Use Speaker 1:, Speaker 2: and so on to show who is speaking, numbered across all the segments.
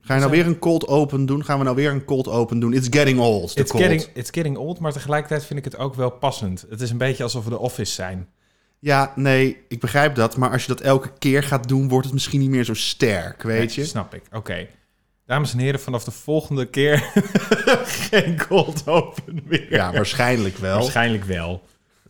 Speaker 1: Ga je nou weer een cold open doen? Gaan we nou weer een cold open doen? It's getting old, de
Speaker 2: It's
Speaker 1: cold.
Speaker 2: getting, it's getting old, maar tegelijkertijd vind ik het ook wel passend. Het is een beetje alsof we de office zijn.
Speaker 1: Ja, nee, ik begrijp dat. Maar als je dat elke keer gaat doen, wordt het misschien niet meer zo sterk, weet
Speaker 2: Nee,
Speaker 1: je?
Speaker 2: Snap ik. Oké. Dames en heren, vanaf de volgende keer geen cold open meer.
Speaker 1: Ja, waarschijnlijk wel.
Speaker 2: Waarschijnlijk wel.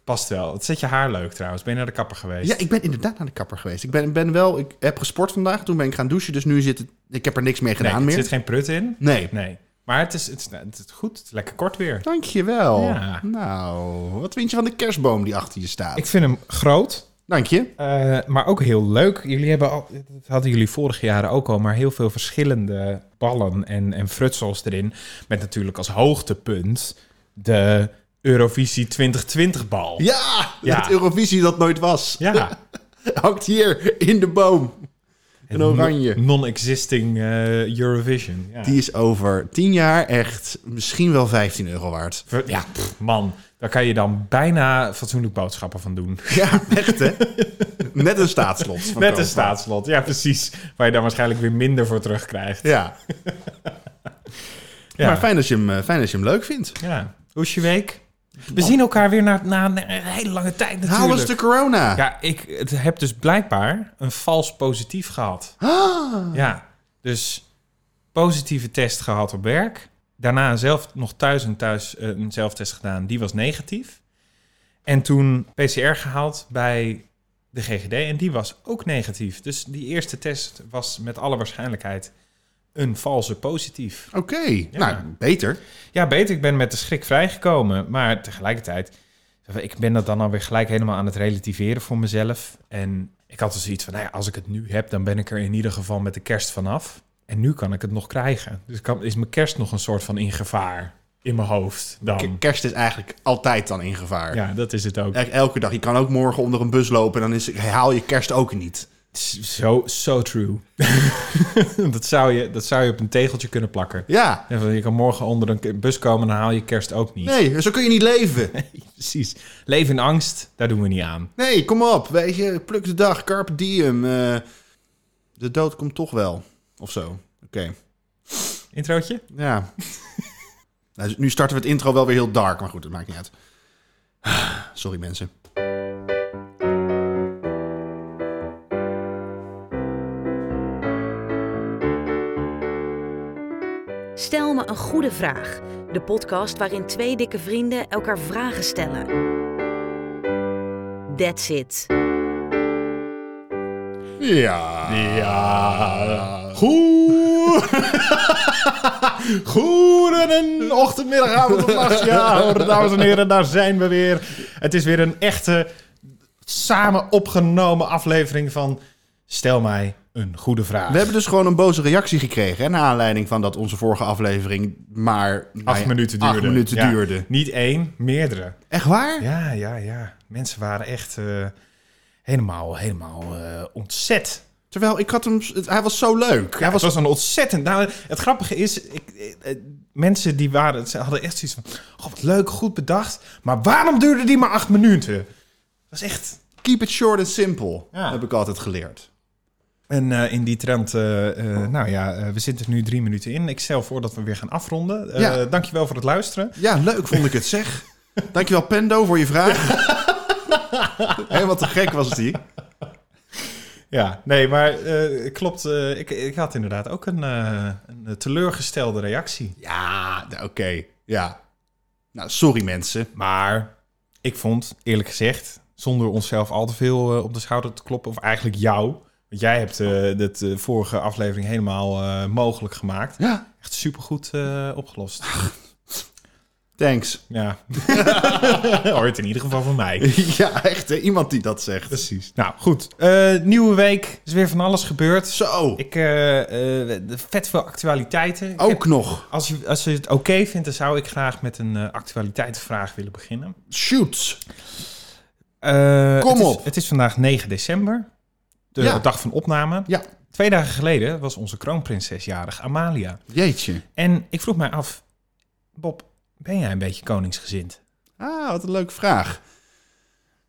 Speaker 2: Past wel. Het zet je haar leuk trouwens. Ben je naar de kapper geweest?
Speaker 1: Ja, ik ben inderdaad naar de kapper geweest. Ik ben, ben wel, ik heb gesport vandaag. Toen ben ik gaan douchen, dus nu zit het, ik heb er niks mee
Speaker 2: nee,
Speaker 1: gedaan
Speaker 2: Er
Speaker 1: meer.
Speaker 2: zit geen prut in.
Speaker 1: Nee.
Speaker 2: Nee. Maar het is, het, is, het is goed. Het is lekker kort weer.
Speaker 1: Dankjewel.
Speaker 2: Ja.
Speaker 1: Nou, wat vind je van de kerstboom die achter je staat?
Speaker 2: Ik vind hem groot.
Speaker 1: Dank je.
Speaker 2: Eh, maar ook heel leuk. Jullie hebben al, dat hadden jullie vorige jaren ook al, maar heel veel verschillende ballen en, en frutsels erin. Met natuurlijk als hoogtepunt de Eurovisie 2020 bal.
Speaker 1: Ja,
Speaker 2: Ja.
Speaker 1: het Eurovisie dat nooit was.
Speaker 2: Ja,
Speaker 1: Hangt hier in de boom. Een oranje.
Speaker 2: no- Non-existing eh, Eurovision. Ja,
Speaker 1: Die is over 10 jaar echt misschien wel 15 euro waard.
Speaker 2: Ver- ja pff, man, daar kan je dan bijna fatsoenlijk boodschappen van doen.
Speaker 1: Ja, echt hè? Net een staatslot. van
Speaker 2: Net een
Speaker 1: Koopman.
Speaker 2: staatslot, ja precies. Waar je dan waarschijnlijk weer minder voor terugkrijgt.
Speaker 1: Ja.
Speaker 2: Ja.
Speaker 1: Maar fijn dat, je hem, eh, fijn dat je hem leuk vindt.
Speaker 2: Ja. Hoe is je week? We zien elkaar weer na, na een hele lange tijd natuurlijk.
Speaker 1: Hou Oh. eens de corona.
Speaker 2: Ja, ik het heb dus blijkbaar een vals positief gehad.
Speaker 1: Ah.
Speaker 2: Ja, dus positieve test gehad op werk. Daarna zelf nog thuis en thuis eh, een zelftest gedaan. Die was negatief. En toen PCR gehaald bij de GGD en die was ook negatief. Dus die eerste test was met alle waarschijnlijkheid een valse positief.
Speaker 1: Oké, nou beter.
Speaker 2: Ja, beter. Ik ben met de schrik vrijgekomen. Maar tegelijkertijd, ik ben dat dan alweer gelijk helemaal aan het relativeren voor mezelf. En ik had dus iets van, nou ja, als ik het nu heb, dan ben ik er in ieder geval met de kerst vanaf. En nu kan ik het nog krijgen. Dus kan, is mijn kerst nog een soort van in gevaar in mijn hoofd
Speaker 1: K-
Speaker 2: dan.
Speaker 1: Kerst is eigenlijk altijd dan in gevaar.
Speaker 2: Ja, dat is het ook.
Speaker 1: Echt elke dag. Je kan ook morgen onder een bus lopen en dan is, haal je kerst ook niet.
Speaker 2: Zo so true. dat, zou je, dat zou je op een tegeltje kunnen plakken.
Speaker 1: Ja,
Speaker 2: En van, Je kan morgen onder een k- bus komen en dan haal je kerst ook niet.
Speaker 1: nee, zo kun je niet leven.
Speaker 2: Precies. Leven in angst, daar doen we niet aan.
Speaker 1: Nee, kom op. Weet je, pluk de dag, carpe diem. eh, de dood komt toch wel. Of zo. Oké,
Speaker 2: Introotje?
Speaker 1: ja. Nou, nu starten we het intro wel weer heel dark, maar goed, dat maakt niet uit. Sorry mensen.
Speaker 3: Stel me een goede vraag. De podcast waarin twee dikke vrienden elkaar vragen stellen. That's it.
Speaker 1: Ja.
Speaker 2: Ja.
Speaker 1: Goed. Goeden ochtend, middag, avond of nacht.
Speaker 2: Ja, hoor, dames en heren, daar zijn we weer. Het is weer een echte samen opgenomen aflevering van Stel mij een goede vraag.
Speaker 1: We hebben dus gewoon een boze reactie gekregen. Hè, naar aanleiding van dat onze vorige aflevering maar nou
Speaker 2: acht
Speaker 1: ja,
Speaker 2: minuten duurde.
Speaker 1: acht minuten
Speaker 2: Ja,
Speaker 1: duurde.
Speaker 2: Niet één, meerdere.
Speaker 1: Echt waar?
Speaker 2: Ja, ja, ja. Mensen waren echt eh, helemaal, helemaal eh, ontzet.
Speaker 1: Terwijl ik had hem. het- hij was zo leuk.
Speaker 2: Ja, was, het was een ontzettend. Nou, het grappige is, ik, eh, eh, mensen die waren, ze hadden echt zoiets van: Goh, wat leuk, goed bedacht. Maar waarom duurde die maar acht minuten? Dat was echt.
Speaker 1: Keep it short and simple.
Speaker 2: Ja.
Speaker 1: Heb ik altijd geleerd.
Speaker 2: En eh, in die trend, eh, eh, nou ja, eh, we zitten er nu drie minuten in. Ik stel voor dat we weer gaan afronden. Eh
Speaker 1: Ja.
Speaker 2: Dankjewel voor het luisteren.
Speaker 1: Ja, leuk vond ik het zeg. Dankjewel Pendo voor je vraag. Helemaal te gek was die.
Speaker 2: Ja, nee, maar eh, klopt. eh, ik, ik had inderdaad ook een, eh, een teleurgestelde reactie.
Speaker 1: Ja, nou, oké. Ja. Nou, sorry mensen.
Speaker 2: Maar ik vond, eerlijk gezegd, zonder onszelf al te veel eh, op de schouder te kloppen, of eigenlijk jou. Want jij hebt eh dat eh, vorige aflevering helemaal eh, mogelijk gemaakt.
Speaker 1: Ja.
Speaker 2: Echt supergoed eh, opgelost.
Speaker 1: Thanks.
Speaker 2: Ja. Hoort in ieder geval van mij.
Speaker 1: ja, echt hè? Iemand die dat zegt.
Speaker 2: Precies. Nou, goed. Eh, nieuwe week. Is weer van alles gebeurd.
Speaker 1: Zo.
Speaker 2: Ik, eh, eh, de- vet veel actualiteiten. Ik
Speaker 1: Ook
Speaker 2: heb-
Speaker 1: nog.
Speaker 2: als, je, als je het oké vindt, dan zou ik graag met een eh, actualiteitenvraag willen beginnen.
Speaker 1: Shoots.
Speaker 2: Eh,
Speaker 1: Kom
Speaker 2: het is-
Speaker 1: op.
Speaker 2: het is vandaag 9 december, de
Speaker 1: Ja.
Speaker 2: dag van opname.
Speaker 1: Ja.
Speaker 2: Twee dagen geleden was onze kroonprinses jarig, Amalia.
Speaker 1: Jeetje.
Speaker 2: En ik vroeg mij af, Bob, ben jij een beetje koningsgezind?
Speaker 1: Ah, wat een leuke vraag.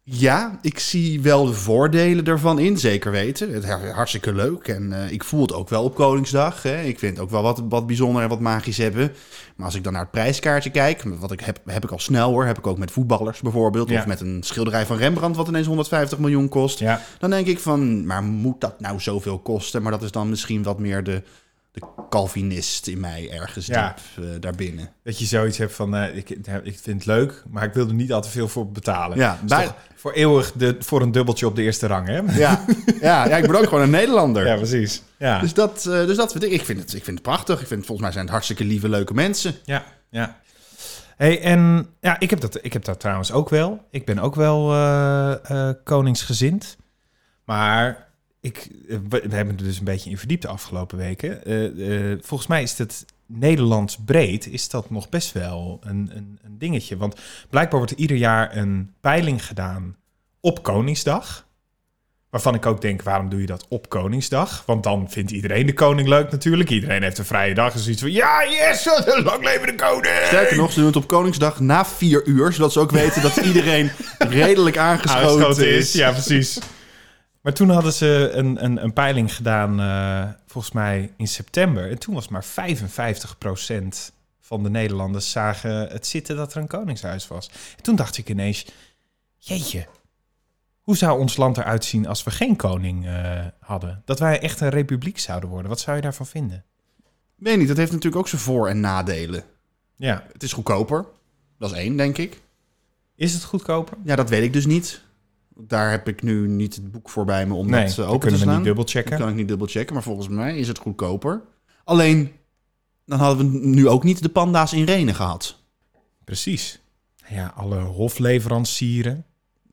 Speaker 1: Ja, ik zie wel de voordelen daarvan in, zeker weten. Het is hartstikke leuk en eh, ik voel het ook wel op Koningsdag. Hè. Ik vind het ook wel wat, wat bijzonder en wat magisch hebben. Maar als ik dan naar het prijskaartje kijk, wat ik heb, heb ik al snel hoor. Heb ik ook met voetballers bijvoorbeeld.
Speaker 2: Ja.
Speaker 1: Of met een schilderij van Rembrandt wat ineens 150 miljoen kost.
Speaker 2: Ja.
Speaker 1: Dan denk ik van, maar moet dat nou zoveel kosten? Maar dat is dan misschien wat meer de, de Calvinist in mij ergens
Speaker 2: Ja.
Speaker 1: diep eh, daarbinnen.
Speaker 2: Dat je zoiets hebt van, eh, ik, ik vind het leuk, maar ik wil er niet al te veel voor betalen.
Speaker 1: Ja,
Speaker 2: Dat
Speaker 1: bij-
Speaker 2: is toch voor eeuwig de, voor een dubbeltje op de eerste rang, hè?
Speaker 1: Ja, ja, ja ik ben ook gewoon een Nederlander.
Speaker 2: Ja, precies. Ja,
Speaker 1: Dus dat, eh, dus dat vind ik. Ik vind, het, ik vind het prachtig. Ik vind, volgens mij zijn het hartstikke lieve, leuke mensen.
Speaker 2: ja, ja. Hey, en ja, ik heb, dat, ik heb dat trouwens ook wel. Ik ben ook wel eh, eh, koningsgezind. Maar ik, eh, we, we hebben er dus een beetje in verdiept de afgelopen weken. Eh, eh, volgens mij is het Nederlands breed is dat nog best wel een, een, een dingetje. Want blijkbaar wordt er ieder jaar een peiling gedaan op Koningsdag. Waarvan ik ook denk, waarom doe je dat op Koningsdag? Want dan vindt iedereen de koning leuk natuurlijk. Iedereen heeft een vrije dag. Dus iets van, ja, yes, lang leven de koning!
Speaker 1: Sterker nog, ze doen het op Koningsdag na vier uur. Zodat ze ook weten dat iedereen redelijk aangeschoten,
Speaker 2: Aangeschoten
Speaker 1: is.
Speaker 2: Ja, precies. Maar toen hadden ze een, een, een peiling gedaan, eh, volgens mij in september. En toen was maar 55% van de Nederlanders zagen het zitten dat er een koningshuis was. En toen dacht ik ineens, jeetje, hoe zou ons land eruit zien als we geen koning eh, hadden? Dat wij echt een republiek zouden worden. Wat zou je daarvan vinden?
Speaker 1: Weet niet, dat heeft natuurlijk ook zijn voor- en nadelen.
Speaker 2: Ja,
Speaker 1: Het is goedkoper. Dat is één, denk ik.
Speaker 2: is het goedkoper?
Speaker 1: Ja, dat weet ik dus niet. Daar heb ik nu niet het boek voor bij me om
Speaker 2: Nee,
Speaker 1: dat eh,
Speaker 2: dat
Speaker 1: open te
Speaker 2: kunnen we
Speaker 1: slaan.
Speaker 2: niet dubbelchecken.
Speaker 1: Dat kan ik niet dubbelchecken, maar volgens mij is het goedkoper. Alleen, dan hadden we nu ook niet de panda's in Renen gehad.
Speaker 2: Precies. Ja, alle hofleverancieren,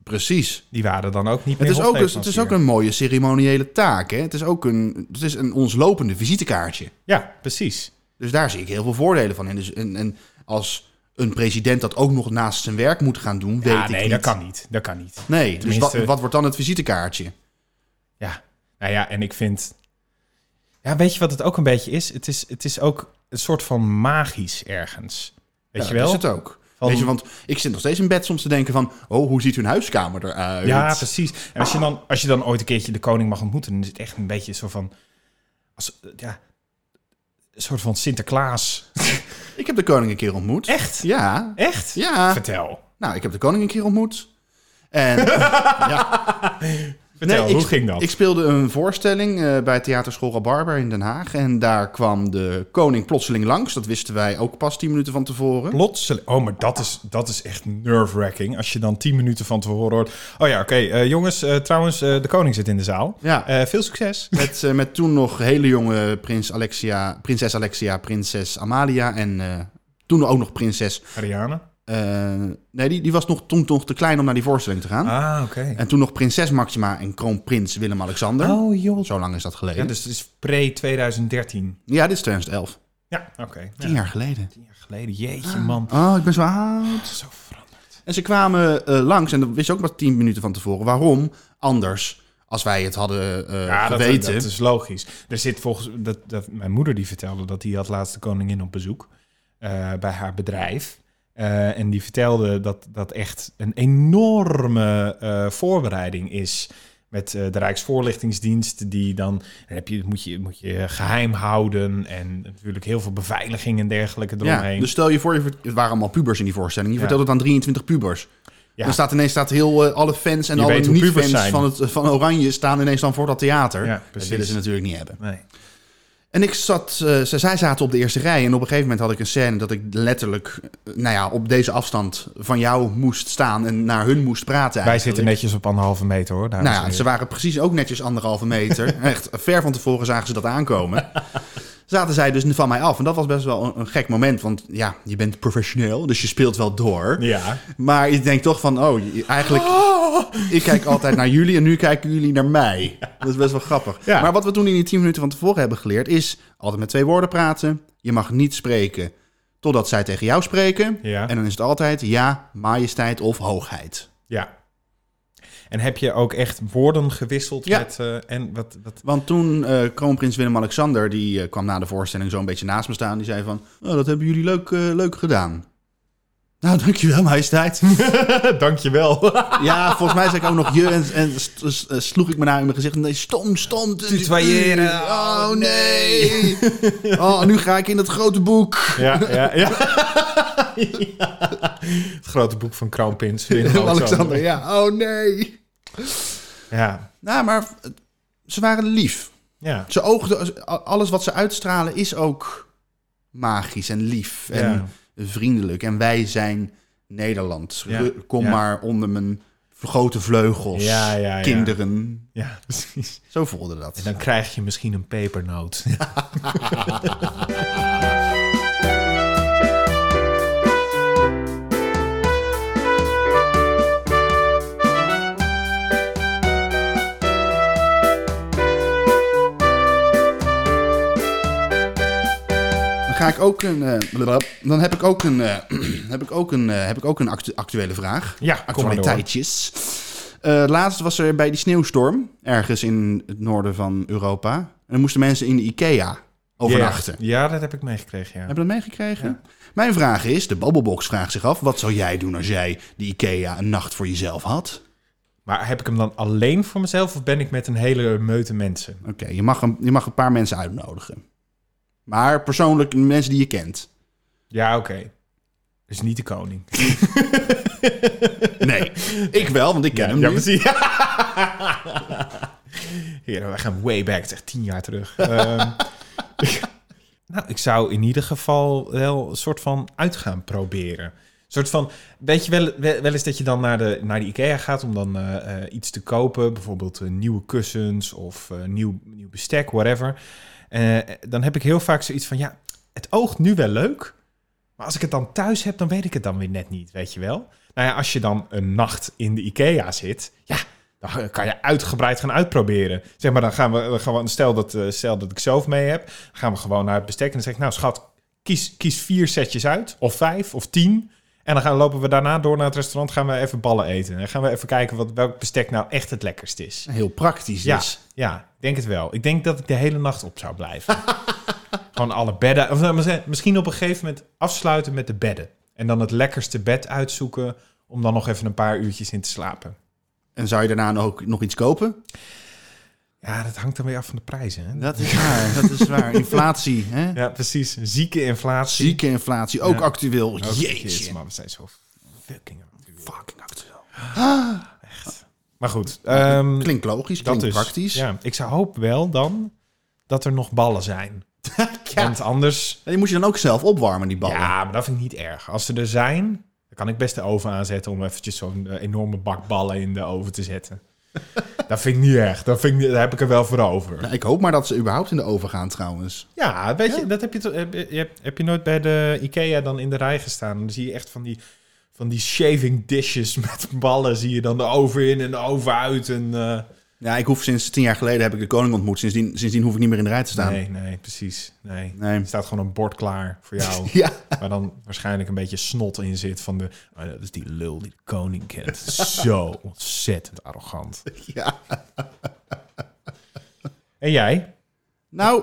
Speaker 1: Precies.
Speaker 2: die waren dan ook niet meer
Speaker 1: Het is, ook, het is
Speaker 2: hofleverancier.
Speaker 1: ook een mooie ceremoniële taak. Hè? Het is ook een, het is een ons lopende visitekaartje.
Speaker 2: Ja, precies.
Speaker 1: Dus daar zie ik heel veel voordelen van. En, dus, en, en als een president dat ook nog naast zijn werk moet gaan doen, weet
Speaker 2: ja,
Speaker 1: ik
Speaker 2: nee,
Speaker 1: niet.
Speaker 2: dat kan niet. Dat kan niet.
Speaker 1: Nee, dus wat,
Speaker 2: Tenminste-
Speaker 1: wat wordt dan het visitekaartje?
Speaker 2: Ja. Nou ja, en ik vind... Ja, weet je wat het ook een beetje is? Het is, het is ook een soort van magisch ergens. Weet
Speaker 1: Ja,
Speaker 2: je wel?
Speaker 1: Dat is het ook.
Speaker 2: Van-
Speaker 1: Weet je, want ik zit nog steeds in bed soms te denken van... oh, hoe ziet hun huiskamer eruit?
Speaker 2: Ja, precies. En als je, dan, als je dan ooit een keertje de koning mag ontmoeten... dan is het echt een beetje zo van... Als, ja, een soort van Sinterklaas.
Speaker 1: Ik heb de koning een keer ontmoet.
Speaker 2: Echt?
Speaker 1: Ja.
Speaker 2: Echt?
Speaker 1: Ja.
Speaker 2: Vertel.
Speaker 1: Nou, ik heb de koning een keer ontmoet. En
Speaker 2: Vertel,
Speaker 1: Nee,
Speaker 2: hoe
Speaker 1: ik,
Speaker 2: ging dat?
Speaker 1: Ik speelde een voorstelling eh, bij Theaterschool Rabarber in Den Haag. En daar kwam de koning plotseling langs. Dat wisten wij ook pas tien minuten van tevoren.
Speaker 2: Plotseling. Oh, maar dat is, dat is echt nerve-wracking. Als je dan tien minuten van tevoren hoort. Oh ja, oké, eh, jongens, eh, trouwens, eh, de koning zit in de zaal.
Speaker 1: Ja.
Speaker 2: Eh, veel succes.
Speaker 1: Met, eh, met toen nog hele jonge prins Alexia, prinses Alexia, prinses Amalia. En eh, toen ook nog prinses...
Speaker 2: Ariane.
Speaker 1: eh, nee, die, die was nog, toen nog te klein om naar die voorstelling te gaan.
Speaker 2: Ah, oké.
Speaker 1: En toen nog prinses Maxima en kroonprins Willem-Alexander.
Speaker 2: Oh, joh.
Speaker 1: Zo lang is dat geleden.
Speaker 2: Ja,
Speaker 1: Ja,
Speaker 2: dus het is pre-2013.
Speaker 1: dit is 2011.
Speaker 2: Ja, oké. Okay.
Speaker 1: Tien jaar geleden.
Speaker 2: Tien jaar geleden. Jeetje, man.
Speaker 1: Oh, ik ben zo oud.
Speaker 2: Zo veranderd.
Speaker 1: En ze kwamen eh, langs, en dat wist je ook maar tien minuten van tevoren. Waarom? Anders, als wij het hadden eh,
Speaker 2: Ja, dat,
Speaker 1: geweten.
Speaker 2: dat is logisch. Er zit volgens... Dat, dat, mijn moeder die vertelde dat die had laatst de koningin op bezoek. eh, bij haar bedrijf. Eh, en die vertelde dat dat echt een enorme eh, voorbereiding is... Met eh, de Rijksvoorlichtingsdienst, die dan, dan heb je, moet, je, moet je geheim houden. En natuurlijk heel veel beveiliging en dergelijke eromheen.
Speaker 1: ja, dus stel je voor, je vert- het waren allemaal pubers in die voorstelling. Je
Speaker 2: Ja.
Speaker 1: vertelde het aan 23 pubers.
Speaker 2: Ja.
Speaker 1: Dan staat ineens staat heel eh, alle fans en
Speaker 2: Je
Speaker 1: alle
Speaker 2: weet hoe pubers
Speaker 1: niet-fans
Speaker 2: zijn.
Speaker 1: van, het- van Oranje staan ineens dan voor dat theater.
Speaker 2: Ja,
Speaker 1: dat
Speaker 2: precies.
Speaker 1: willen ze natuurlijk niet hebben.
Speaker 2: nee.
Speaker 1: En ik zat, eh, zij, zij zaten op de eerste rij. En op een gegeven moment had ik een scène dat ik letterlijk, eh, nou ja, op deze afstand van jou moest staan en naar hun moest praten.
Speaker 2: Wij
Speaker 1: eigenlijk.
Speaker 2: zitten netjes op anderhalve meter hoor. dames en
Speaker 1: Nou ja,
Speaker 2: heren.
Speaker 1: ze waren precies ook netjes anderhalve meter. Echt, ver van tevoren zagen ze dat aankomen. Zaten zij dus van mij af. En dat was best wel een, een gek moment. Want ja, je bent professioneel, dus je speelt wel door.
Speaker 2: Ja.
Speaker 1: Maar je denkt toch van, oh, je- eigenlijk...
Speaker 2: Ah!
Speaker 1: Ik kijk altijd naar jullie en nu kijken jullie naar mij. Dat is best wel grappig.
Speaker 2: Ja.
Speaker 1: Maar wat we toen in die tien minuten van tevoren hebben geleerd... is altijd met twee woorden praten. Je mag niet spreken totdat zij tegen jou spreken.
Speaker 2: Ja.
Speaker 1: En dan is het altijd ja, majesteit of hoogheid.
Speaker 2: ja. En heb je ook echt woorden gewisseld
Speaker 1: Ja.
Speaker 2: met... eh, en wat, wat...
Speaker 1: Want toen eh, kroonprins Willem-Alexander, die eh, kwam na de voorstelling zo'n beetje naast me staan. Die zei van, oh, dat hebben jullie leuk, eh, leuk gedaan. Nou, dankjewel, majesteit.
Speaker 2: Dankjewel.
Speaker 1: ja, volgens mij zei ik ook nog je en, en s- s- eh, sloeg ik me naar in mijn gezicht. Nee, stom, stom.
Speaker 2: Tutoyeren.
Speaker 1: Oh, nee. Oh, nu ga ik in dat grote boek.
Speaker 2: Ja, ja, ja. Ja. Het grote boek van Kroonprins Willem
Speaker 1: Alexander,
Speaker 2: Alexander.
Speaker 1: ja. Oh, nee.
Speaker 2: Ja,
Speaker 1: Nou, maar eh, ze waren lief.
Speaker 2: ja.
Speaker 1: Ze oogden, alles wat ze uitstralen is ook magisch en lief en
Speaker 2: Ja.
Speaker 1: vriendelijk. En wij zijn Nederland.
Speaker 2: Ja.
Speaker 1: Ru- Kom
Speaker 2: Ja.
Speaker 1: maar onder mijn grote vleugels,
Speaker 2: Ja, ja, ja.
Speaker 1: kinderen.
Speaker 2: ja, precies.
Speaker 1: Zo voelde dat.
Speaker 2: En dan krijg je misschien een pepernoot.
Speaker 1: Dan ga ik ook een. eh, blablabla. dan heb ik ook een. eh, heb ik ook een. eh, heb ik ook een actu- actuele vraag.
Speaker 2: Ja, kom maar door.
Speaker 1: Actualiteitjes. Eh laatst was er bij die sneeuwstorm ergens in het noorden van Europa. En dan moesten mensen in de IKEA overnachten.
Speaker 2: Ja, ja, dat heb ik meegekregen, ja.
Speaker 1: Hebben we dat meegekregen? Mijn vraag is: de Babbelbox vraagt zich af. Wat zou jij doen als jij de IKEA een nacht voor jezelf had?
Speaker 2: Maar heb ik hem dan alleen voor mezelf of ben ik met een hele meute mensen?
Speaker 1: Oké, je, mag een- je mag een paar mensen uitnodigen. Maar persoonlijk mensen die je kent.
Speaker 2: Ja, oké. Dus niet de koning.
Speaker 1: Nee, ik wel, want ik ken hem
Speaker 2: ja,
Speaker 1: nu.
Speaker 2: precies. Heren, wij gaan way back, echt tien jaar terug. Ehm, nou, ik zou in ieder geval wel een soort van uitgaan proberen. Een soort van, weet je wel, wel wel eens dat je dan naar de, naar de IKEA gaat om dan eh, eh, iets te kopen. Bijvoorbeeld eh, nieuwe kussens of eh, nieuw, nieuw bestek, whatever. Eh, dan heb ik heel vaak zoiets van, ja, het oogt nu wel leuk. Maar als ik het dan thuis heb, dan weet ik het dan weer net niet, weet je wel? Nou ja, als je dan een nacht in de IKEA zit, ja, dan kan je uitgebreid gaan uitproberen. Zeg maar, dan gaan we, dan gaan we stel, dat, eh, stel dat ik zelf mee heb, dan gaan we gewoon naar het bestek en dan zeg ik, nou schat, kies, kies vier setjes uit, of vijf, of tien. En dan gaan, lopen we daarna door naar het restaurant, gaan we even ballen eten. En dan gaan we even kijken wat, welk bestek nou echt het lekkerst is.
Speaker 1: Heel praktisch.
Speaker 2: Ja,
Speaker 1: Dus.
Speaker 2: ja, ik denk het wel. Ik denk dat ik de hele nacht op zou blijven. Gewoon alle bedden. Of nou, misschien- misschien op een gegeven moment afsluiten met de bedden. En dan het lekkerste bed uitzoeken om dan nog even een paar uurtjes in te slapen.
Speaker 1: En zou je daarna ook nog iets kopen?
Speaker 2: Ja, dat hangt dan weer af van de prijzen. Hè?
Speaker 1: Dat is waar, dat is waar. Inflatie, hè?
Speaker 2: Ja, precies. Zieke inflatie.
Speaker 1: Zieke inflatie, ook
Speaker 2: Ja.
Speaker 1: actueel.
Speaker 2: Ook-
Speaker 1: Jeetje.
Speaker 2: man, we zijn zo fucking...
Speaker 1: Fucking actueel.
Speaker 2: Maar goed. ehm,
Speaker 1: Klinkt logisch,
Speaker 2: dat
Speaker 1: klinkt
Speaker 2: is
Speaker 1: praktisch.
Speaker 2: Ja, ik zou hoop wel dan dat er nog ballen zijn. Want anders...
Speaker 1: En die moet je dan ook zelf opwarmen, die ballen.
Speaker 2: Ja, maar dat vind ik niet erg. Als ze er zijn, dan kan ik best de oven aanzetten om eventjes zo'n eh, enorme bak ballen in de oven te zetten. dat vind ik niet erg. Dat vind ik, niet- daar heb ik er wel voor over.
Speaker 1: Nou, ik hoop maar dat ze überhaupt in de oven gaan trouwens.
Speaker 2: Ja, weet je, dat heb je, toch- heb, je, heb je nooit bij de IKEA dan in de rij gestaan. Dan zie je echt van die, van die shaving dishes met ballen. Zie je dan de oven in en de oven uit. En, eh,
Speaker 1: Ja, ik hoef sinds tien jaar geleden heb ik de koning ontmoet. Sindsdien, sindsdien hoef ik niet meer in de rij te staan.
Speaker 2: nee, nee, precies. Nee.
Speaker 1: Nee.
Speaker 2: Er staat gewoon een bord klaar voor jou.
Speaker 1: Ja.
Speaker 2: Waar dan waarschijnlijk een beetje snot in zit van de... "Ah, dat is die lul die de koning kent. Zo ontzettend arrogant.
Speaker 1: ja.
Speaker 2: En jij?
Speaker 1: Nou,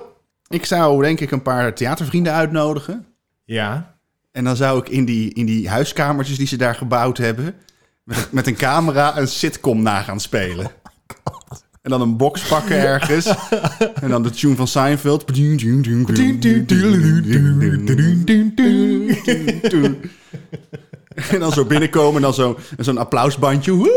Speaker 1: ik zou denk ik een paar theatervrienden uitnodigen.
Speaker 2: Ja.
Speaker 1: En dan zou ik in die, in die huiskamertjes die ze daar gebouwd hebben... met, met een camera een sitcom na gaan spelen. En dan een box pakken ergens. En dan de tune van Seinfeld. En dan zo binnenkomen en dan zo- en zo'n applausbandje. Woe!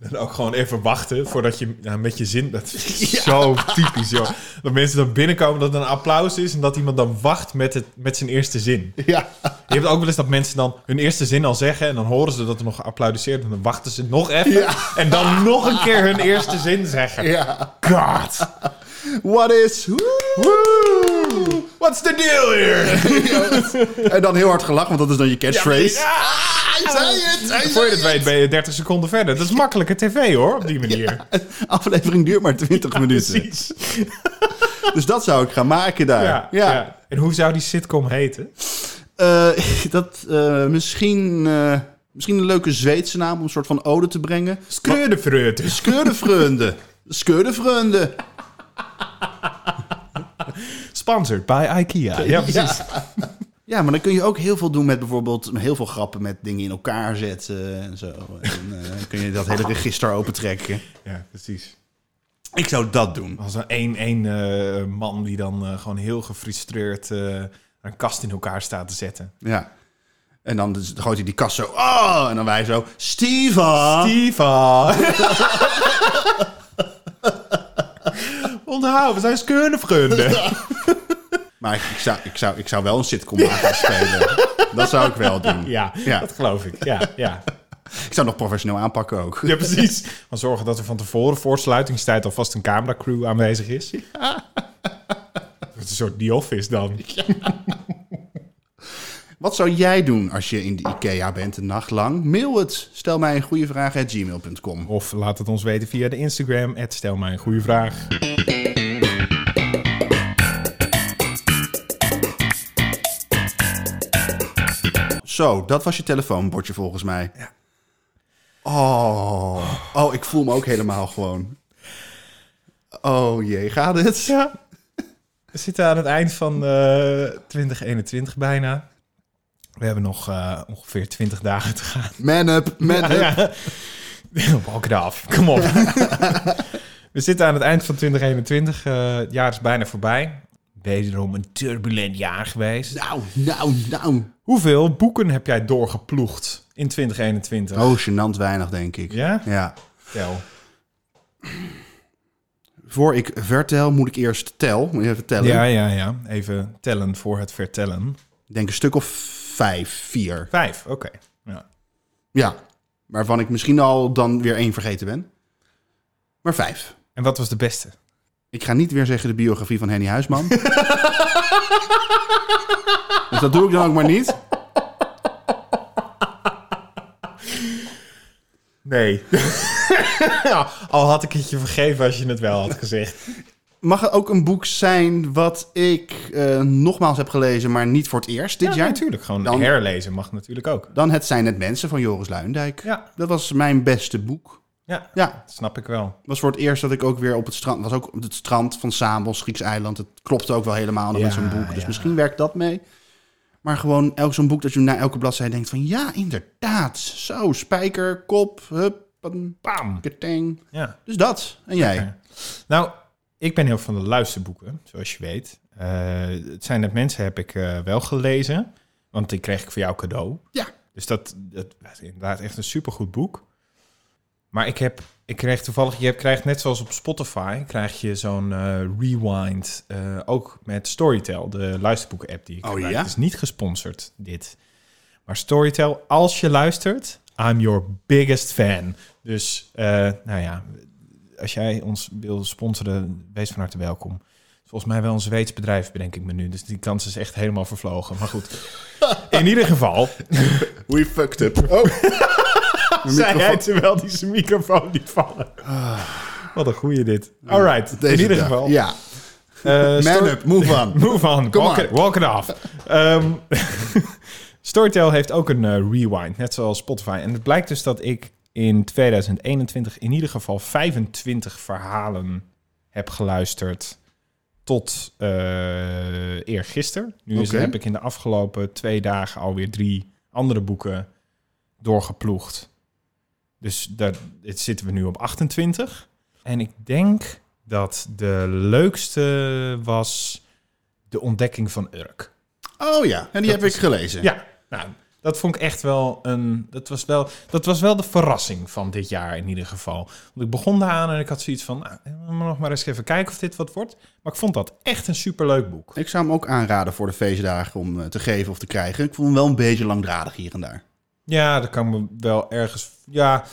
Speaker 2: Dan ook gewoon even wachten voordat je nou, met je zin... Dat is zo typisch, joh. Dat mensen dan binnenkomen, dat er een applaus is... en dat iemand dan wacht met, het, met zijn eerste zin.
Speaker 1: Ja.
Speaker 2: Je hebt ook wel eens dat mensen dan hun eerste zin al zeggen... en dan horen ze dat er nog geapplaudisseerd wordt... en dan wachten ze nog even... en dan nog een keer hun eerste zin zeggen.
Speaker 1: ja.
Speaker 2: God!
Speaker 1: What is... Woe!
Speaker 2: What's the deal here?
Speaker 1: En dan heel hard gelachen, want dat is dan je catchphrase.
Speaker 2: hij
Speaker 1: zei het, hij
Speaker 2: Voor je
Speaker 1: zei
Speaker 2: het weet ben je 30 seconden verder. Dat is makkelijke tv hoor, op die manier.
Speaker 1: Aflevering duurt maar 20 minuten.
Speaker 2: Precies.
Speaker 1: Dus dat zou ik gaan maken daar.
Speaker 2: Ja,
Speaker 1: Ja.
Speaker 2: ja. En hoe zou die sitcom heten?
Speaker 1: Eh, dat, eh, misschien, eh, misschien een leuke Zweedse naam om een soort van ode te brengen.
Speaker 2: Skreudefreuten.
Speaker 1: Skeurdevreunde. Skeurdevreunde.
Speaker 2: Sponsored by IKEA. Ja, precies.
Speaker 1: Ja, maar dan kun je ook heel veel doen met bijvoorbeeld heel veel grappen met dingen in elkaar zetten en zo. En eh, dan kun je dat hele register opentrekken.
Speaker 2: Ja, precies.
Speaker 1: Ik zou dat doen.
Speaker 2: Als een één, één eh, man die dan eh, gewoon heel gefrustreerd eh, een kast in elkaar staat te zetten.
Speaker 1: Ja. En dan dus gooit hij die kast zo. Oh! En dan wij zo.
Speaker 2: Ah.
Speaker 1: Steven!
Speaker 2: Diva! Onthoud, we zijn skeurnevrienden.
Speaker 1: Maar ik, ik zou, ik, zou, ik zou wel een sitcom maken als spelen. Dat zou ik wel doen.
Speaker 2: Ja,
Speaker 1: Ja.
Speaker 2: dat geloof ik. Ja, ja.
Speaker 1: Ik zou nog professioneel aanpakken ook.
Speaker 2: ja, precies. Maar zorgen dat er van tevoren voor sluitingstijd alvast een cameracrew aanwezig is. Dat is een soort The Office dan.
Speaker 1: Wat zou jij doen als je in de IKEA bent een nacht lang? Mail het. Stel mij een goede vraag at gmail.com.
Speaker 2: Of laat het ons weten via de Instagram. Het stel mij een goede vraag.
Speaker 1: Zo, dat was je telefoonbordje volgens mij. Oh. oh, ik voel me ook helemaal gewoon. Oh jee, gaat het?
Speaker 2: Ja. We zitten aan het eind van eh, 2021 bijna. We hebben nog eh, ongeveer 20 dagen te gaan.
Speaker 1: Man up, man up.
Speaker 2: Ja. Walk it off. Kom op. We zitten aan het eind van 2021. Eh, het jaar is bijna voorbij. Wederom een turbulent jaar geweest.
Speaker 1: Nou, nou, nou.
Speaker 2: Hoeveel boeken heb jij doorgeploegd in 2021?
Speaker 1: Oh, gênant weinig, denk ik.
Speaker 2: Ja?
Speaker 1: Ja.
Speaker 2: Tel.
Speaker 1: Voor ik vertel, moet ik eerst tel. Moet je even tellen?
Speaker 2: Ja, ja, ja. Even tellen voor het vertellen.
Speaker 1: Ik denk een stuk of vijf, vier.
Speaker 2: Vijf, oké. Ja.
Speaker 1: Ja. Waarvan ik misschien al dan weer één vergeten ben. Maar vijf.
Speaker 2: En wat was de beste?
Speaker 1: Ik ga niet weer zeggen de biografie van Henny Huisman. dus dat doe ik dan ook maar niet.
Speaker 2: Nee. al had ik het je vergeven als je het wel had gezegd.
Speaker 1: Mag het ook een boek zijn wat ik eh, nogmaals heb gelezen, maar niet voor het eerst dit
Speaker 2: Ja,
Speaker 1: jaar?
Speaker 2: natuurlijk. Gewoon
Speaker 1: Dan-
Speaker 2: herlezen mag natuurlijk ook.
Speaker 1: Dan Het zijn het mensen van Joris Luindijk.
Speaker 2: Ja.
Speaker 1: Dat was mijn beste boek.
Speaker 2: Ja,
Speaker 1: Ja,
Speaker 2: dat snap ik wel.
Speaker 1: was voor het eerst dat ik ook weer op het strand... was ook op het strand van Samos, Grieks eiland. Het klopte ook wel helemaal nog
Speaker 2: Ja,
Speaker 1: met zo'n boek. Dus
Speaker 2: ja.
Speaker 1: misschien werkt dat mee. Maar gewoon elk zo'n boek dat je na elke bladzijde denkt van... ja, inderdaad. Zo, spijker, kop, hup, een
Speaker 2: Bam!
Speaker 1: ketting.
Speaker 2: Ja.
Speaker 1: Dus dat. En jij?
Speaker 2: Oké. Nou, ik ben heel van de luisterboeken, zoals je weet. Eh, het zijn dat mensen heb ik eh, wel gelezen, want die kreeg ik voor jou cadeau.
Speaker 1: Ja.
Speaker 2: Dus dat, dat was inderdaad echt een supergoed boek. Maar ik heb, ik kreeg toevallig, je hebt- krijgt net zoals op Spotify, krijg je zo'n eh, rewind, eh, ook met Storytel, de luisterboeken-app die ik
Speaker 1: Oh,
Speaker 2: gebruik.
Speaker 1: ja?
Speaker 2: Het is niet gesponsord, dit. Maar Storytel, als je luistert, I'm your biggest fan. Dus, eh, nou ja, als jij ons wil sponsoren, wees van harte welkom. Volgens mij wel een Zweeds bedrijf, bedenk ik me nu. Dus die kans is echt helemaal vervlogen. Maar goed, in ieder geval,
Speaker 1: We fucked up. Oh.
Speaker 2: zei hij terwijl die zijn microfoon liet vallen. Wat een goeie dit. All right, in
Speaker 1: Ah. Deze
Speaker 2: ieder
Speaker 1: dag.
Speaker 2: geval.
Speaker 1: Ja.
Speaker 2: Eh,
Speaker 1: Man
Speaker 2: Story-
Speaker 1: up, move on.
Speaker 2: Move on,
Speaker 1: Come
Speaker 2: walk
Speaker 1: on.
Speaker 2: it, walk it off. Ehm, Storytel heeft ook een eh, rewind, net zoals Spotify. En het blijkt dus dat ik in 2021 in ieder geval 25 verhalen heb geluisterd tot eh eergisteren. Nu is,
Speaker 1: Oké.
Speaker 2: heb ik in de afgelopen twee dagen alweer drie andere boeken doorgeploegd. Dus daar dit zitten we nu op 28. En ik denk dat de leukste was De Ontdekking van Urk.
Speaker 1: Oh ja, en die heb ik gelezen.
Speaker 2: Ja, nou, dat vond ik echt wel een. Dat was wel, dat was wel de verrassing van dit jaar in ieder geval. Want ik begon daaraan en ik had zoiets van. Nou, we moeten nog maar eens even kijken of dit wat wordt. Maar ik vond dat echt een superleuk boek.
Speaker 1: Ik zou hem ook aanraden voor de feestdagen om eh, te geven of te krijgen. Ik voel hem wel een beetje langdradig hier en daar.
Speaker 2: Ja, dat kan me wel ergens. Ja,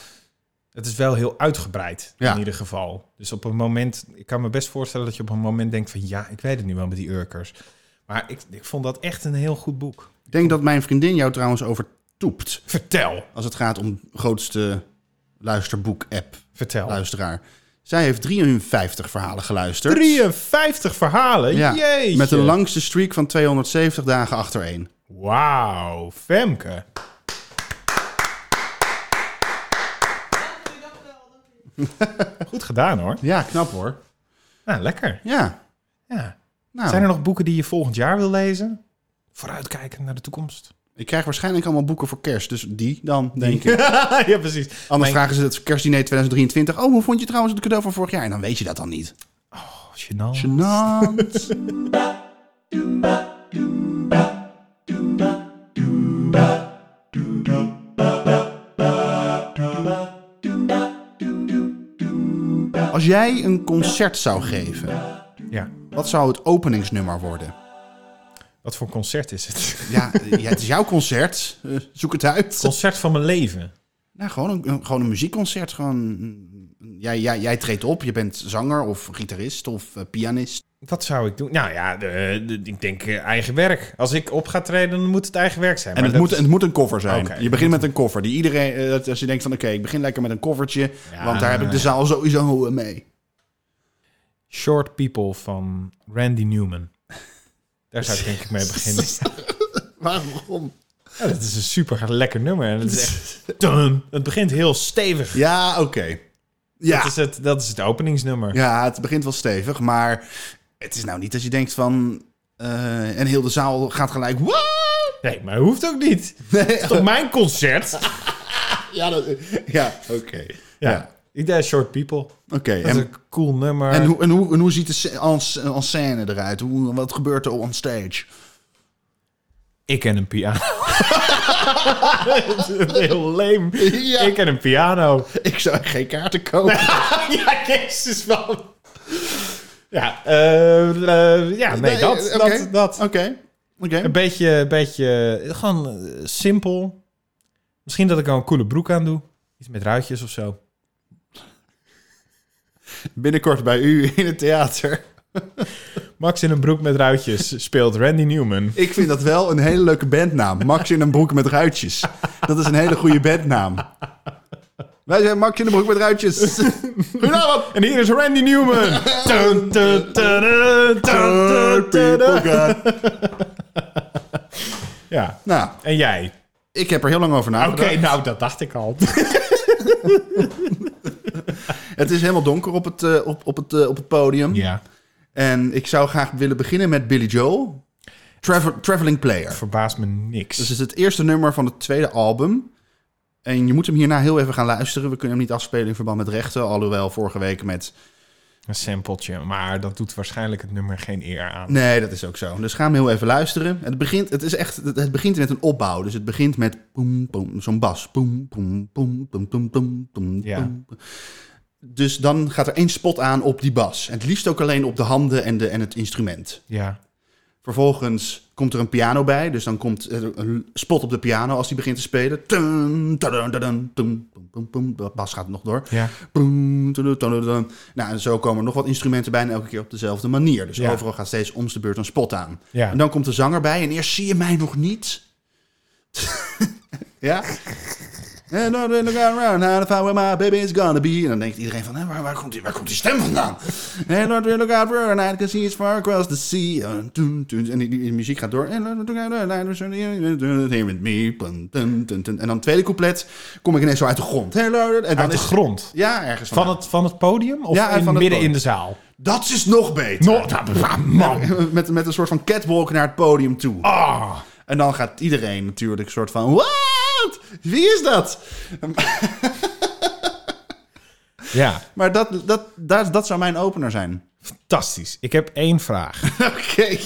Speaker 2: het is wel heel uitgebreid
Speaker 1: Ja.
Speaker 2: in ieder geval. Dus op een moment, ik kan me best voorstellen dat je op een moment denkt van ja, ik weet het nu wel met die Urkers. Maar ik, ik vond dat echt een heel goed boek.
Speaker 1: Ik denk dat mijn vriendin jou trouwens overtoept.
Speaker 2: Vertel,
Speaker 1: Als het gaat om grootste luisterboek-app,
Speaker 2: vertel.
Speaker 1: luisteraar. Zij heeft 53 verhalen geluisterd.
Speaker 2: 53 verhalen,
Speaker 1: Ja,
Speaker 2: jeetje.
Speaker 1: Met een langste streak van 270 dagen achtereen.
Speaker 2: Wauw, Femke. Goed gedaan hoor.
Speaker 1: Ja, knap hoor.
Speaker 2: Nou, lekker.
Speaker 1: Ja,
Speaker 2: Ja.
Speaker 1: nou.
Speaker 2: Zijn er nog boeken die je volgend jaar wil lezen? Vooruitkijken naar de toekomst.
Speaker 1: Ik krijg waarschijnlijk allemaal boeken voor kerst. Dus die dan, denk ik.
Speaker 2: ja, precies.
Speaker 1: Anders
Speaker 2: Mijn-
Speaker 1: vragen ze het kerstdiner 2023. Oh, hoe vond je trouwens het cadeau van vorig jaar? En dan weet je dat dan niet.
Speaker 2: Oh, gênant.
Speaker 1: Genant. Als jij een concert zou geven,
Speaker 2: Ja.
Speaker 1: wat zou het openingsnummer worden?
Speaker 2: Wat voor concert is het?
Speaker 1: Ja, ja het is jouw concert. Eh, zoek het uit.
Speaker 2: concert van mijn leven.
Speaker 1: Nou, gewoon een, een- gewoon een muziekconcert. Gewoon, mm, jij, jij, jij treedt op, je bent zanger of gitarist of eh, pianist.
Speaker 2: Wat zou ik doen? Nou ja, de- de- ik denk eh, eigen werk. Als ik op ga treden, dan moet het eigen werk zijn.
Speaker 1: En
Speaker 2: Maar
Speaker 1: het moet,
Speaker 2: dat-
Speaker 1: het moet een cover zijn.
Speaker 2: Oké.
Speaker 1: Je begint met een cover. Die iedereen, eh, dat als je denkt van oké, ik begin lekker met een covertje.
Speaker 2: Ja.
Speaker 1: want daar heb ik de zaal sowieso mee.
Speaker 2: Short People van Randy Newman. Daar zou ik denk ik mee beginnen.
Speaker 1: Waarom?
Speaker 2: Ja, dat is een super lekker nummer. En het, is echt, Dun. het begint heel stevig.
Speaker 1: Ja, oké. Ja.
Speaker 2: Dat, is het, dat is het openingsnummer.
Speaker 1: ja, het begint wel stevig, maar het is nou niet dat je denkt van... eh, en heel de zaal gaat gelijk... Wow!
Speaker 2: Nee, maar hoeft ook niet. Het is toch mijn concert?
Speaker 1: Ja, dat- ja oké.
Speaker 2: Ja.
Speaker 1: Ja.
Speaker 2: Ik deed Short People.
Speaker 1: Oké,
Speaker 2: Dat is
Speaker 1: en,
Speaker 2: een cool nummer.
Speaker 1: en, hoe, en, hoe, en hoe ziet de sc- en sc- en scène eruit? Hoe, wat gebeurt er on stage?
Speaker 2: Ik en een piano. Dat is heel leem.
Speaker 1: Ja.
Speaker 2: Ik en een piano.
Speaker 1: Ik zou geen kaarten kopen.
Speaker 2: ja, jezus wel. Ja, eh, eh, ja, nee, dat,
Speaker 1: Oké,
Speaker 2: dat, dat.
Speaker 1: Oké, oké.
Speaker 2: Een beetje, een beetje eh, gewoon eh, simpel. Misschien dat ik al een coole broek aan doe. Iets met ruitjes of zo.
Speaker 1: Binnenkort bij u in het theater.
Speaker 2: Max in een broek met ruitjes speelt Randy Newman.
Speaker 1: Ik vind dat wel een hele leuke bandnaam. Max in een broek met ruitjes. Dat is een hele goede bandnaam. Wij zijn Max in een broek met ruitjes. Goedenavond.
Speaker 2: En hier is Randy Newman. nou Dun, dun, dun, dun, dun, dun, dun. Ja,
Speaker 1: Nou,
Speaker 2: en jij?
Speaker 1: ik heb er heel lang over
Speaker 2: Oké,
Speaker 1: nagedacht.
Speaker 2: nou dat dacht ik al.
Speaker 1: Het is helemaal donker op het, eh, op, op het, eh, op het podium.
Speaker 2: Ja.
Speaker 1: En ik zou graag willen beginnen met Billy Joel. Travel, traveling Player.
Speaker 2: Verbaast me niks.
Speaker 1: Dus het is het eerste nummer van het tweede album. En je moet hem hierna heel even gaan luisteren. We kunnen hem niet afspelen in verband met rechten. Alhoewel vorige week met
Speaker 2: Een sampletje, maar dat doet waarschijnlijk het nummer geen eer aan.
Speaker 1: Nee, dat is ook zo. Dus ga hem heel even luisteren. Het begint, het is echt, het het begint met een opbouw. Dus het begint met poem, poem, zo'n bas. Poem, poem, poem, poem, poem, poem, poem,
Speaker 2: Ja.
Speaker 1: poem. Dus dan gaat er één spot aan op die bas. En het liefst ook alleen op de handen en, de, en het instrument.
Speaker 2: Ja.
Speaker 1: Vervolgens komt er een piano bij. Dus dan komt eh, een spot op de piano als die begint te spelen. Tum, tadadum, tadadum, tum, poem, poem, poem. De bas gaat nog door.
Speaker 2: ja.
Speaker 1: Boem, tudu, tudu, tudu. Nou, en zo komen er nog wat instrumenten bij en elke keer op dezelfde manier. Dus
Speaker 2: Ja.
Speaker 1: overal gaat steeds om de beurt een spot aan.
Speaker 2: Ja.
Speaker 1: En dan komt de zanger bij en eerst zie je mij nog niet. ja? And I didn't look around, how to find where my baby is gonna be. En dan denkt iedereen van, hè, waar, waar, komt die, waar komt die stem vandaan? And I didn't look around, I can see it's far across the sea. En, toen, toen, en die, die muziek gaat door. And I didn't look around, I was here with me. Dun, dun, dun, dun. En dan het tweede couplet kom ik ineens zo uit de grond. Hello, en dan
Speaker 2: Uit de
Speaker 1: is
Speaker 2: grond.
Speaker 1: ja, ergens
Speaker 2: dus- Van het, van het podium of
Speaker 1: Ja,
Speaker 2: in,
Speaker 1: van het
Speaker 2: midden
Speaker 1: podium.
Speaker 2: in de zaal?
Speaker 1: Dat is nog beter.
Speaker 2: No, man.
Speaker 1: Met, met een soort van catwalk naar het podium toe.
Speaker 2: Ah.
Speaker 1: En dan gaat iedereen natuurlijk een soort van... Wat? Wie is dat?
Speaker 2: Ja,
Speaker 1: Maar dat, dat, dat, dat zou mijn opener zijn.
Speaker 2: fantastisch. Ik heb één vraag.
Speaker 1: Oké.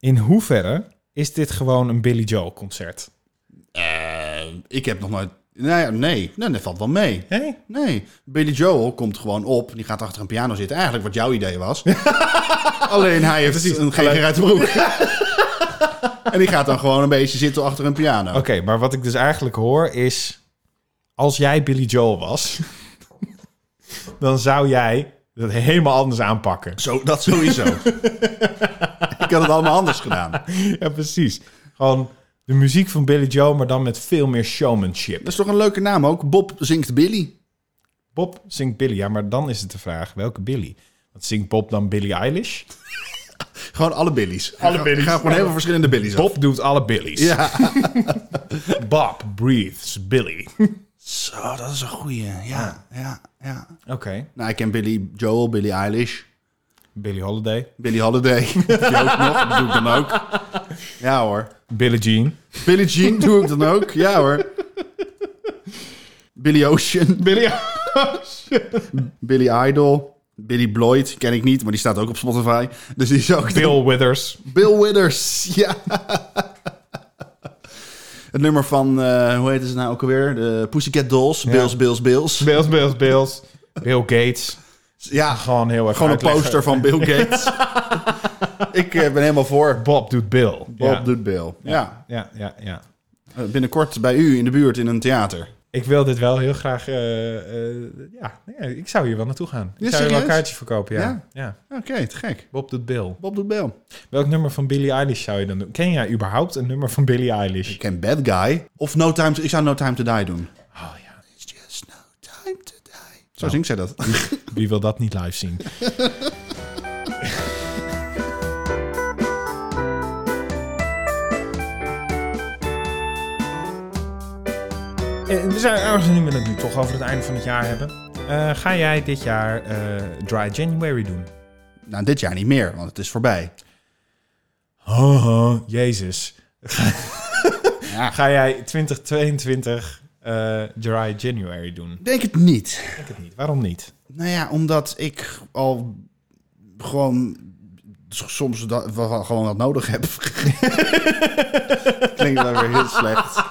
Speaker 2: In hoeverre is dit gewoon een Billy Joel concert?
Speaker 1: Eh, ik heb nog nooit... Nou ja, nee. Nee, dat valt wel mee.
Speaker 2: Hé?
Speaker 1: Nee. Billy Joel komt gewoon op. Die gaat achter een piano zitten. Eigenlijk wat jouw idee was. Alleen hij heeft een geger uit de broek. en die gaat dan gewoon een beetje zitten achter een piano.
Speaker 2: Oké, maar wat ik dus eigenlijk hoor is... Als jij Billy Joel was... dan zou jij dat helemaal anders aanpakken.
Speaker 1: Zo, dat sowieso. ik had het allemaal anders gedaan.
Speaker 2: Ja, precies. Gewoon de muziek van Billy Joel, maar dan met veel meer showmanship.
Speaker 1: Dat is toch een leuke naam ook? Bob zingt Billy.
Speaker 2: Bob zingt Billy, ja, maar dan is het de vraag, welke Billy? Want zingt Bob dan Billie Eilish?
Speaker 1: Gewoon alle Billies.
Speaker 2: Alle
Speaker 1: Ga-
Speaker 2: Billies.
Speaker 1: Ga gewoon heel veel verschillende Billies op.
Speaker 2: Bob doet alle Billies.
Speaker 1: Ja.
Speaker 2: Bob breathes Billy. Oké.
Speaker 1: Zo, dat is een goeie. Ja, ja, ja. Nou, ik ken Billy Joel, Billy Eilish,
Speaker 2: Billy Holiday.
Speaker 1: Billy Holiday. Die ook nog, dat doe ik dan ook. Ja hoor.
Speaker 2: Billie Jean.
Speaker 1: Billie Jean doe ik dan ook. Ja hoor. Billy Ocean,
Speaker 2: Billie
Speaker 1: Billy Idol, Billy Bloyd ken ik niet, maar die staat ook op Spotify. Dus die is ook...
Speaker 2: Bill Withers.
Speaker 1: Bill Withers, ja. Het nummer van, eh, hoe heet ze nou ook alweer? De Pussycat Dolls, Bills, Bills, Bills.
Speaker 2: Bills, Bills, Bills. Bill Gates.
Speaker 1: Ja,
Speaker 2: Gewoon heel erg
Speaker 1: gewoon een
Speaker 2: uitleggen.
Speaker 1: poster van Bill Gates. ik eh, ben helemaal voor.
Speaker 2: Bob doet Bill.
Speaker 1: Bob
Speaker 2: ja.
Speaker 1: doet Bill. Ja.
Speaker 2: Ja, ja, ja.
Speaker 1: Eh, Binnenkort bij u in de buurt in een theater.
Speaker 2: Ik wil dit wel heel graag... eh, eh, ja, nee, ik zou hier wel naartoe gaan. Ik
Speaker 1: Ja,
Speaker 2: zou hier wel een
Speaker 1: serieus?
Speaker 2: kaartje verkopen, ja.
Speaker 1: Ja?
Speaker 2: ja.
Speaker 1: Oké, te gek.
Speaker 2: Bob doet Bill.
Speaker 1: Bob doet Bill.
Speaker 2: Welk nummer van Billie Eilish zou je dan doen? Ken jij überhaupt een nummer van Billie Eilish?
Speaker 1: Ik ken Bad Guy. Of No Time to, ik zou No Time to Die doen.
Speaker 2: Oh ja,
Speaker 1: It's just no time to die. Nou. Zo zingt zij dat.
Speaker 2: wie wil dat niet live zien? Eh, We zijn ergens nu we het nu toch over het einde van het jaar hebben. Eh, ga jij dit jaar eh, Dry January doen?
Speaker 1: nou, dit jaar niet meer, want het is voorbij.
Speaker 2: Ho, ho, jezus.
Speaker 1: Ja,
Speaker 2: Ga jij 2022 eh, Dry January doen?
Speaker 1: ik denk het niet.
Speaker 2: Ik denk het niet. Waarom niet?
Speaker 1: Nou ja, omdat ik al gewoon soms da- wa- wa- gewoon wat nodig heb. Klinkt wel weer heel slecht.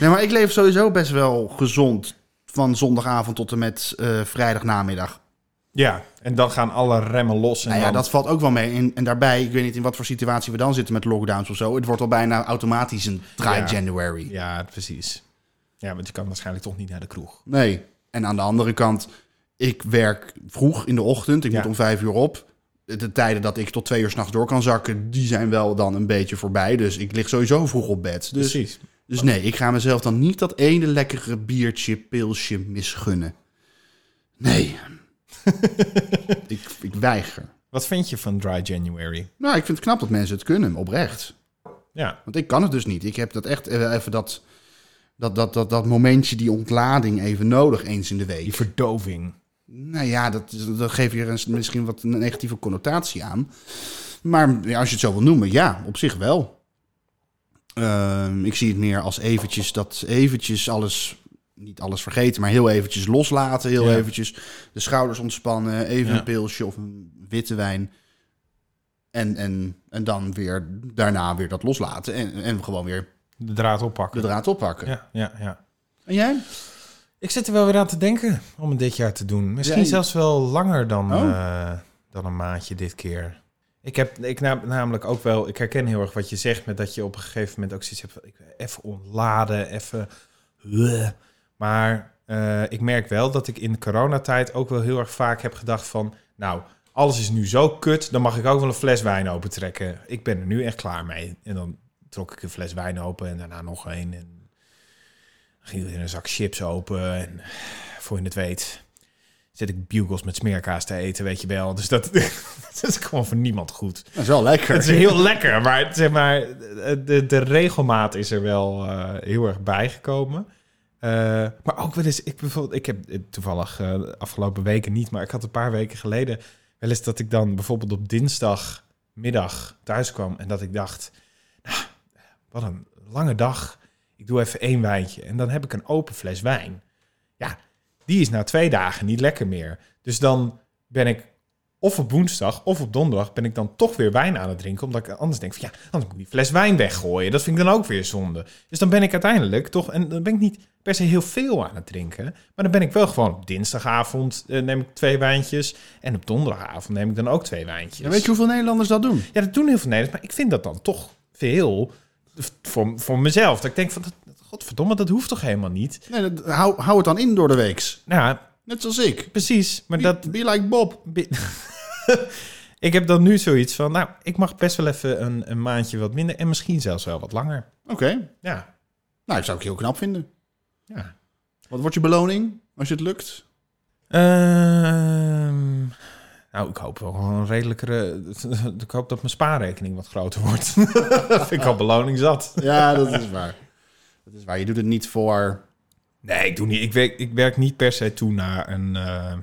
Speaker 1: Nee, maar ik leef sowieso best wel gezond van zondagavond tot en met eh vrijdagnamiddag.
Speaker 2: Ja, en dan gaan alle remmen los. En
Speaker 1: Nou ja,
Speaker 2: dan-
Speaker 1: dat valt ook wel mee. En, en daarbij, ik weet niet in wat voor situatie we dan zitten met lockdowns of zo. Het wordt al bijna automatisch een try
Speaker 2: Ja.
Speaker 1: January.
Speaker 2: Ja, precies. Ja, want je kan waarschijnlijk toch niet naar de kroeg.
Speaker 1: Nee. En aan de andere kant, ik werk vroeg in de ochtend. Ik
Speaker 2: Ja.
Speaker 1: moet om vijf uur op. De tijden dat ik tot twee uur s'nachts door kan zakken, die zijn wel dan een beetje voorbij. Dus ik lig sowieso vroeg op bed. Dus,
Speaker 2: Precies.
Speaker 1: dus nee, ik ga mezelf dan niet dat ene lekkere biertje, pilsje misgunnen. Nee. ik, ik weiger.
Speaker 2: Wat vind je van Dry January?
Speaker 1: Nou, ik vind het knap dat mensen het kunnen, oprecht.
Speaker 2: Ja,
Speaker 1: Want ik kan het dus niet. Ik heb dat echt eh, even dat, dat, dat, dat, dat momentje, die ontlading even nodig eens in de
Speaker 2: die
Speaker 1: week.
Speaker 2: verdoving.
Speaker 1: Nou ja, dat, dat geeft hier eens misschien wat een negatieve connotatie aan. Maar ja, als je het zo wil noemen, ja, op zich wel. Ehm, ik zie het meer als eventjes dat eventjes alles, niet alles vergeten, maar heel eventjes loslaten. Heel
Speaker 2: Ja.
Speaker 1: eventjes de schouders ontspannen, even
Speaker 2: Ja.
Speaker 1: een pilsje of een witte wijn. En, en, en dan weer daarna weer dat loslaten en, en gewoon weer
Speaker 2: De draad oppakken.
Speaker 1: de draad oppakken.
Speaker 2: Ja, ja, ja.
Speaker 1: En jij?
Speaker 2: Ik zit er wel weer aan te denken om het dit jaar te doen. Misschien
Speaker 1: Jij-
Speaker 2: zelfs wel langer dan,
Speaker 1: Oh.
Speaker 2: eh, dan een maandje dit keer. Ik heb ik nam- namelijk ook wel, ik herken heel erg wat je zegt, met dat je op een gegeven moment ook zoiets hebt van ik wil even ontladen, even. Bleh. Maar eh, ik merk wel dat ik in de coronatijd ook wel heel erg vaak heb gedacht van, nou, alles is nu zo kut, dan mag ik ook wel een fles wijn opentrekken. Ik ben er nu echt klaar mee. En dan trok ik een fles wijn open en daarna nog een. En ging weer een zak chips open. En voor je het weet, zit ik bugles met smeerkaas te eten, weet je wel. Dus dat, dat is gewoon voor niemand goed.
Speaker 1: Dat is wel lekker.
Speaker 2: Het is heel lekker, maar zeg maar, de, de regelmaat is er wel eh, heel erg bijgekomen. Eh, maar ook wel eens, ik, bijvoorbeeld, ik heb eh, toevallig eh, de afgelopen weken niet, maar ik had een paar weken geleden wel eens dat ik dan bijvoorbeeld op dinsdagmiddag thuis kwam en dat ik dacht, "Nou, wat een lange dag, ik doe even één wijntje en dan heb ik een open fles wijn. Ja, die is na twee dagen niet lekker meer. Dus dan ben ik of op woensdag of op donderdag ben ik dan toch weer wijn aan het drinken. Omdat ik anders denk van ja, anders moet ik die fles wijn weggooien. Dat vind ik dan ook weer zonde. Dus dan ben ik uiteindelijk toch, en dan ben ik niet per se heel veel aan het drinken. Maar dan ben ik wel gewoon op dinsdagavond eh, neem ik twee wijntjes. En op donderdagavond neem ik dan ook twee wijntjes.
Speaker 1: Ja, weet je hoeveel Nederlanders dat doen?
Speaker 2: Ja, dat doen heel veel Nederlanders, maar ik vind dat dan toch veel voor, voor mezelf. Dat ik denk van, dat, dat- godverdomme, dat hoeft toch helemaal niet?
Speaker 1: Nee, dat- hou, hou het dan in door de weeks.
Speaker 2: Nou, ja,
Speaker 1: Net zoals ik.
Speaker 2: precies, maar
Speaker 1: Be,
Speaker 2: dat...
Speaker 1: be like Bob.
Speaker 2: ik heb dan nu zoiets van, nou, ik mag best wel even een, een maandje wat minder en misschien zelfs wel wat langer.
Speaker 1: Oké.
Speaker 2: Ja,
Speaker 1: Nou, dat zou ik heel knap vinden.
Speaker 2: ja.
Speaker 1: Wat wordt je beloning als je het lukt?
Speaker 2: Ehm, nou, ik hoop wel gewoon een redelijkere... Ik hoop dat mijn spaarrekening wat groter wordt. dat vind ik al beloning zat.
Speaker 1: Ja, dat is waar. Dat is waar. Je doet het niet voor...
Speaker 2: Nee, ik doe niet. Ik werk, ik werk niet per se toe naar een. eh,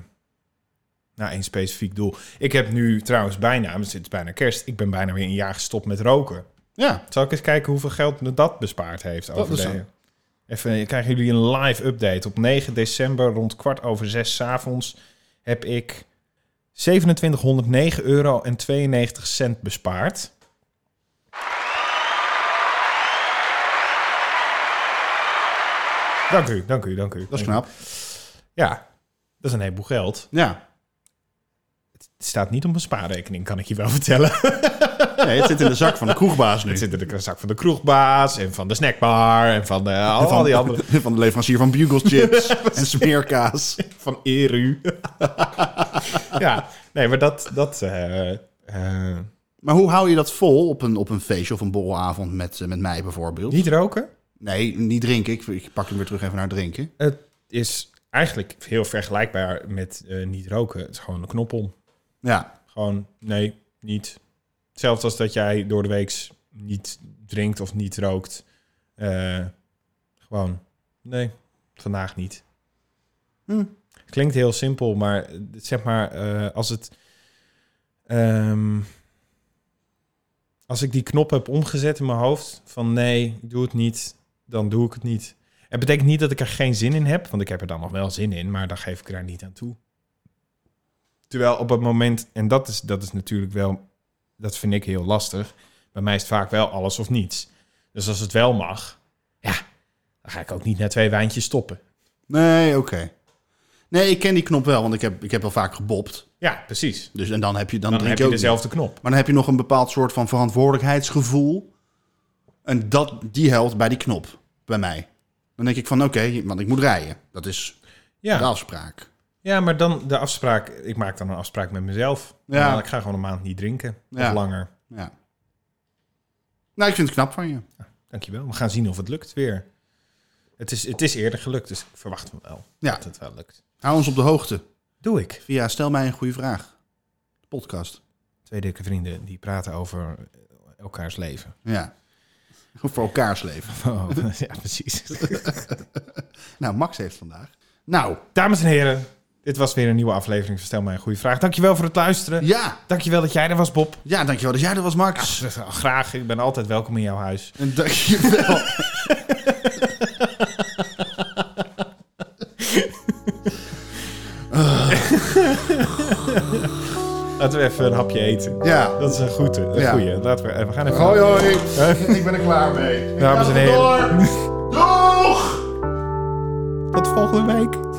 Speaker 2: naar één specifiek doel. Ik heb nu trouwens bijna, het is bijna kerst, ik ben bijna weer een jaar gestopt met roken.
Speaker 1: Ja,
Speaker 2: Zal ik eens kijken hoeveel geld me dat bespaard heeft over
Speaker 1: is
Speaker 2: de-
Speaker 1: dan-
Speaker 2: Even, eh, krijgen jullie een live update. Op 9 december rond kwart over zes 's avonds heb ik 2709 euro en 92 cent bespaard. Dank u, dank u, dank u.
Speaker 1: dat is knap.
Speaker 2: Ja, dat is een heleboel geld.
Speaker 1: Ja.
Speaker 2: Het staat niet op een spaarrekening, kan ik je wel vertellen.
Speaker 1: Nee, het zit in de zak van de kroegbaas nu.
Speaker 2: Het zit in de zak van de kroegbaas en van de snackbar en van de, al, al die andere.
Speaker 1: van de leverancier van Bugles chips en smeerkaas.
Speaker 2: Van Eru. ja, nee, maar dat... dat eh, eh,
Speaker 1: Maar hoe hou je dat vol op een, op een feestje of een borrelavond met, eh, met mij bijvoorbeeld?
Speaker 2: niet roken
Speaker 1: Nee, niet drinken. Ik, ik pak hem weer terug even naar drinken.
Speaker 2: Het is eigenlijk heel vergelijkbaar met eh, niet roken. Het is gewoon een knop om.
Speaker 1: Ja,
Speaker 2: Gewoon, nee, niet. Hetzelfde als dat jij door de week niet drinkt of niet rookt. Eh, gewoon, nee, vandaag niet.
Speaker 1: Hm.
Speaker 2: Klinkt heel simpel, maar eh, zeg maar, eh, als het... ehm, als ik die knop heb omgezet in mijn hoofd van nee, ik doe het niet, dan doe ik het niet. Het betekent niet dat ik er geen zin in heb, want ik heb er dan nog wel zin in, maar dan geef ik er niet aan toe. Terwijl op het moment, en dat is, dat is natuurlijk wel, dat vind ik heel lastig. Bij mij is het vaak wel alles of niets. Dus als het wel mag, ja, dan ga ik ook niet na twee wijntjes stoppen.
Speaker 1: nee, oké. Nee, ik ken die knop wel, want ik heb, ik heb wel vaak gebopt.
Speaker 2: Ja, precies.
Speaker 1: Dus, en dan heb je, dan
Speaker 2: Dan
Speaker 1: drink
Speaker 2: heb
Speaker 1: je
Speaker 2: je
Speaker 1: ook
Speaker 2: dezelfde knop.
Speaker 1: niet. Maar dan heb je nog een bepaald soort van verantwoordelijkheidsgevoel. En dat, die helpt bij die knop, bij mij. Dan denk ik van, oké, want ik moet rijden. Dat is de
Speaker 2: Ja.
Speaker 1: afspraak.
Speaker 2: ja, maar dan de afspraak. Ik maak dan een afspraak met mezelf.
Speaker 1: Ja.
Speaker 2: Ja. Ik ga gewoon een maand niet drinken.
Speaker 1: Ja.
Speaker 2: Of langer.
Speaker 1: Ja. Nou, ik vind het knap van je.
Speaker 2: Dankjewel. We gaan zien of het lukt weer. Het is, het is eerder gelukt, dus ik verwacht wel
Speaker 1: Ja.
Speaker 2: dat het wel lukt.
Speaker 1: Hou ons op de hoogte.
Speaker 2: Doe ik.
Speaker 1: Via Stel mij een goede vraag. De podcast.
Speaker 2: Twee dikke vrienden die praten over eh, elkaars leven.
Speaker 1: Ja. Voor elkaars leven.
Speaker 2: ja, precies.
Speaker 1: Nou, Max heeft vandaag. Nou,
Speaker 2: Dames en heren, dit was weer een nieuwe aflevering van Stel mij een goede vraag. Dankjewel voor het luisteren.
Speaker 1: ja.
Speaker 2: Dankjewel dat jij er was, Bob. Nou,
Speaker 1: Ja, dankjewel dat jij er was, Max.
Speaker 2: Graag, ik ben altijd welkom in jouw huis.
Speaker 1: En dankjewel.
Speaker 2: Laten we even een hapje eten.
Speaker 1: Ja.
Speaker 2: Dat is een goede. Een
Speaker 1: Ja.
Speaker 2: goeie. Laten we, eh, we gaan even...
Speaker 1: Hoi, hoi. Ik ben er klaar mee. Ik
Speaker 2: Dames
Speaker 1: ga
Speaker 2: en heren.
Speaker 1: door. Doeg!
Speaker 2: Tot volgende week.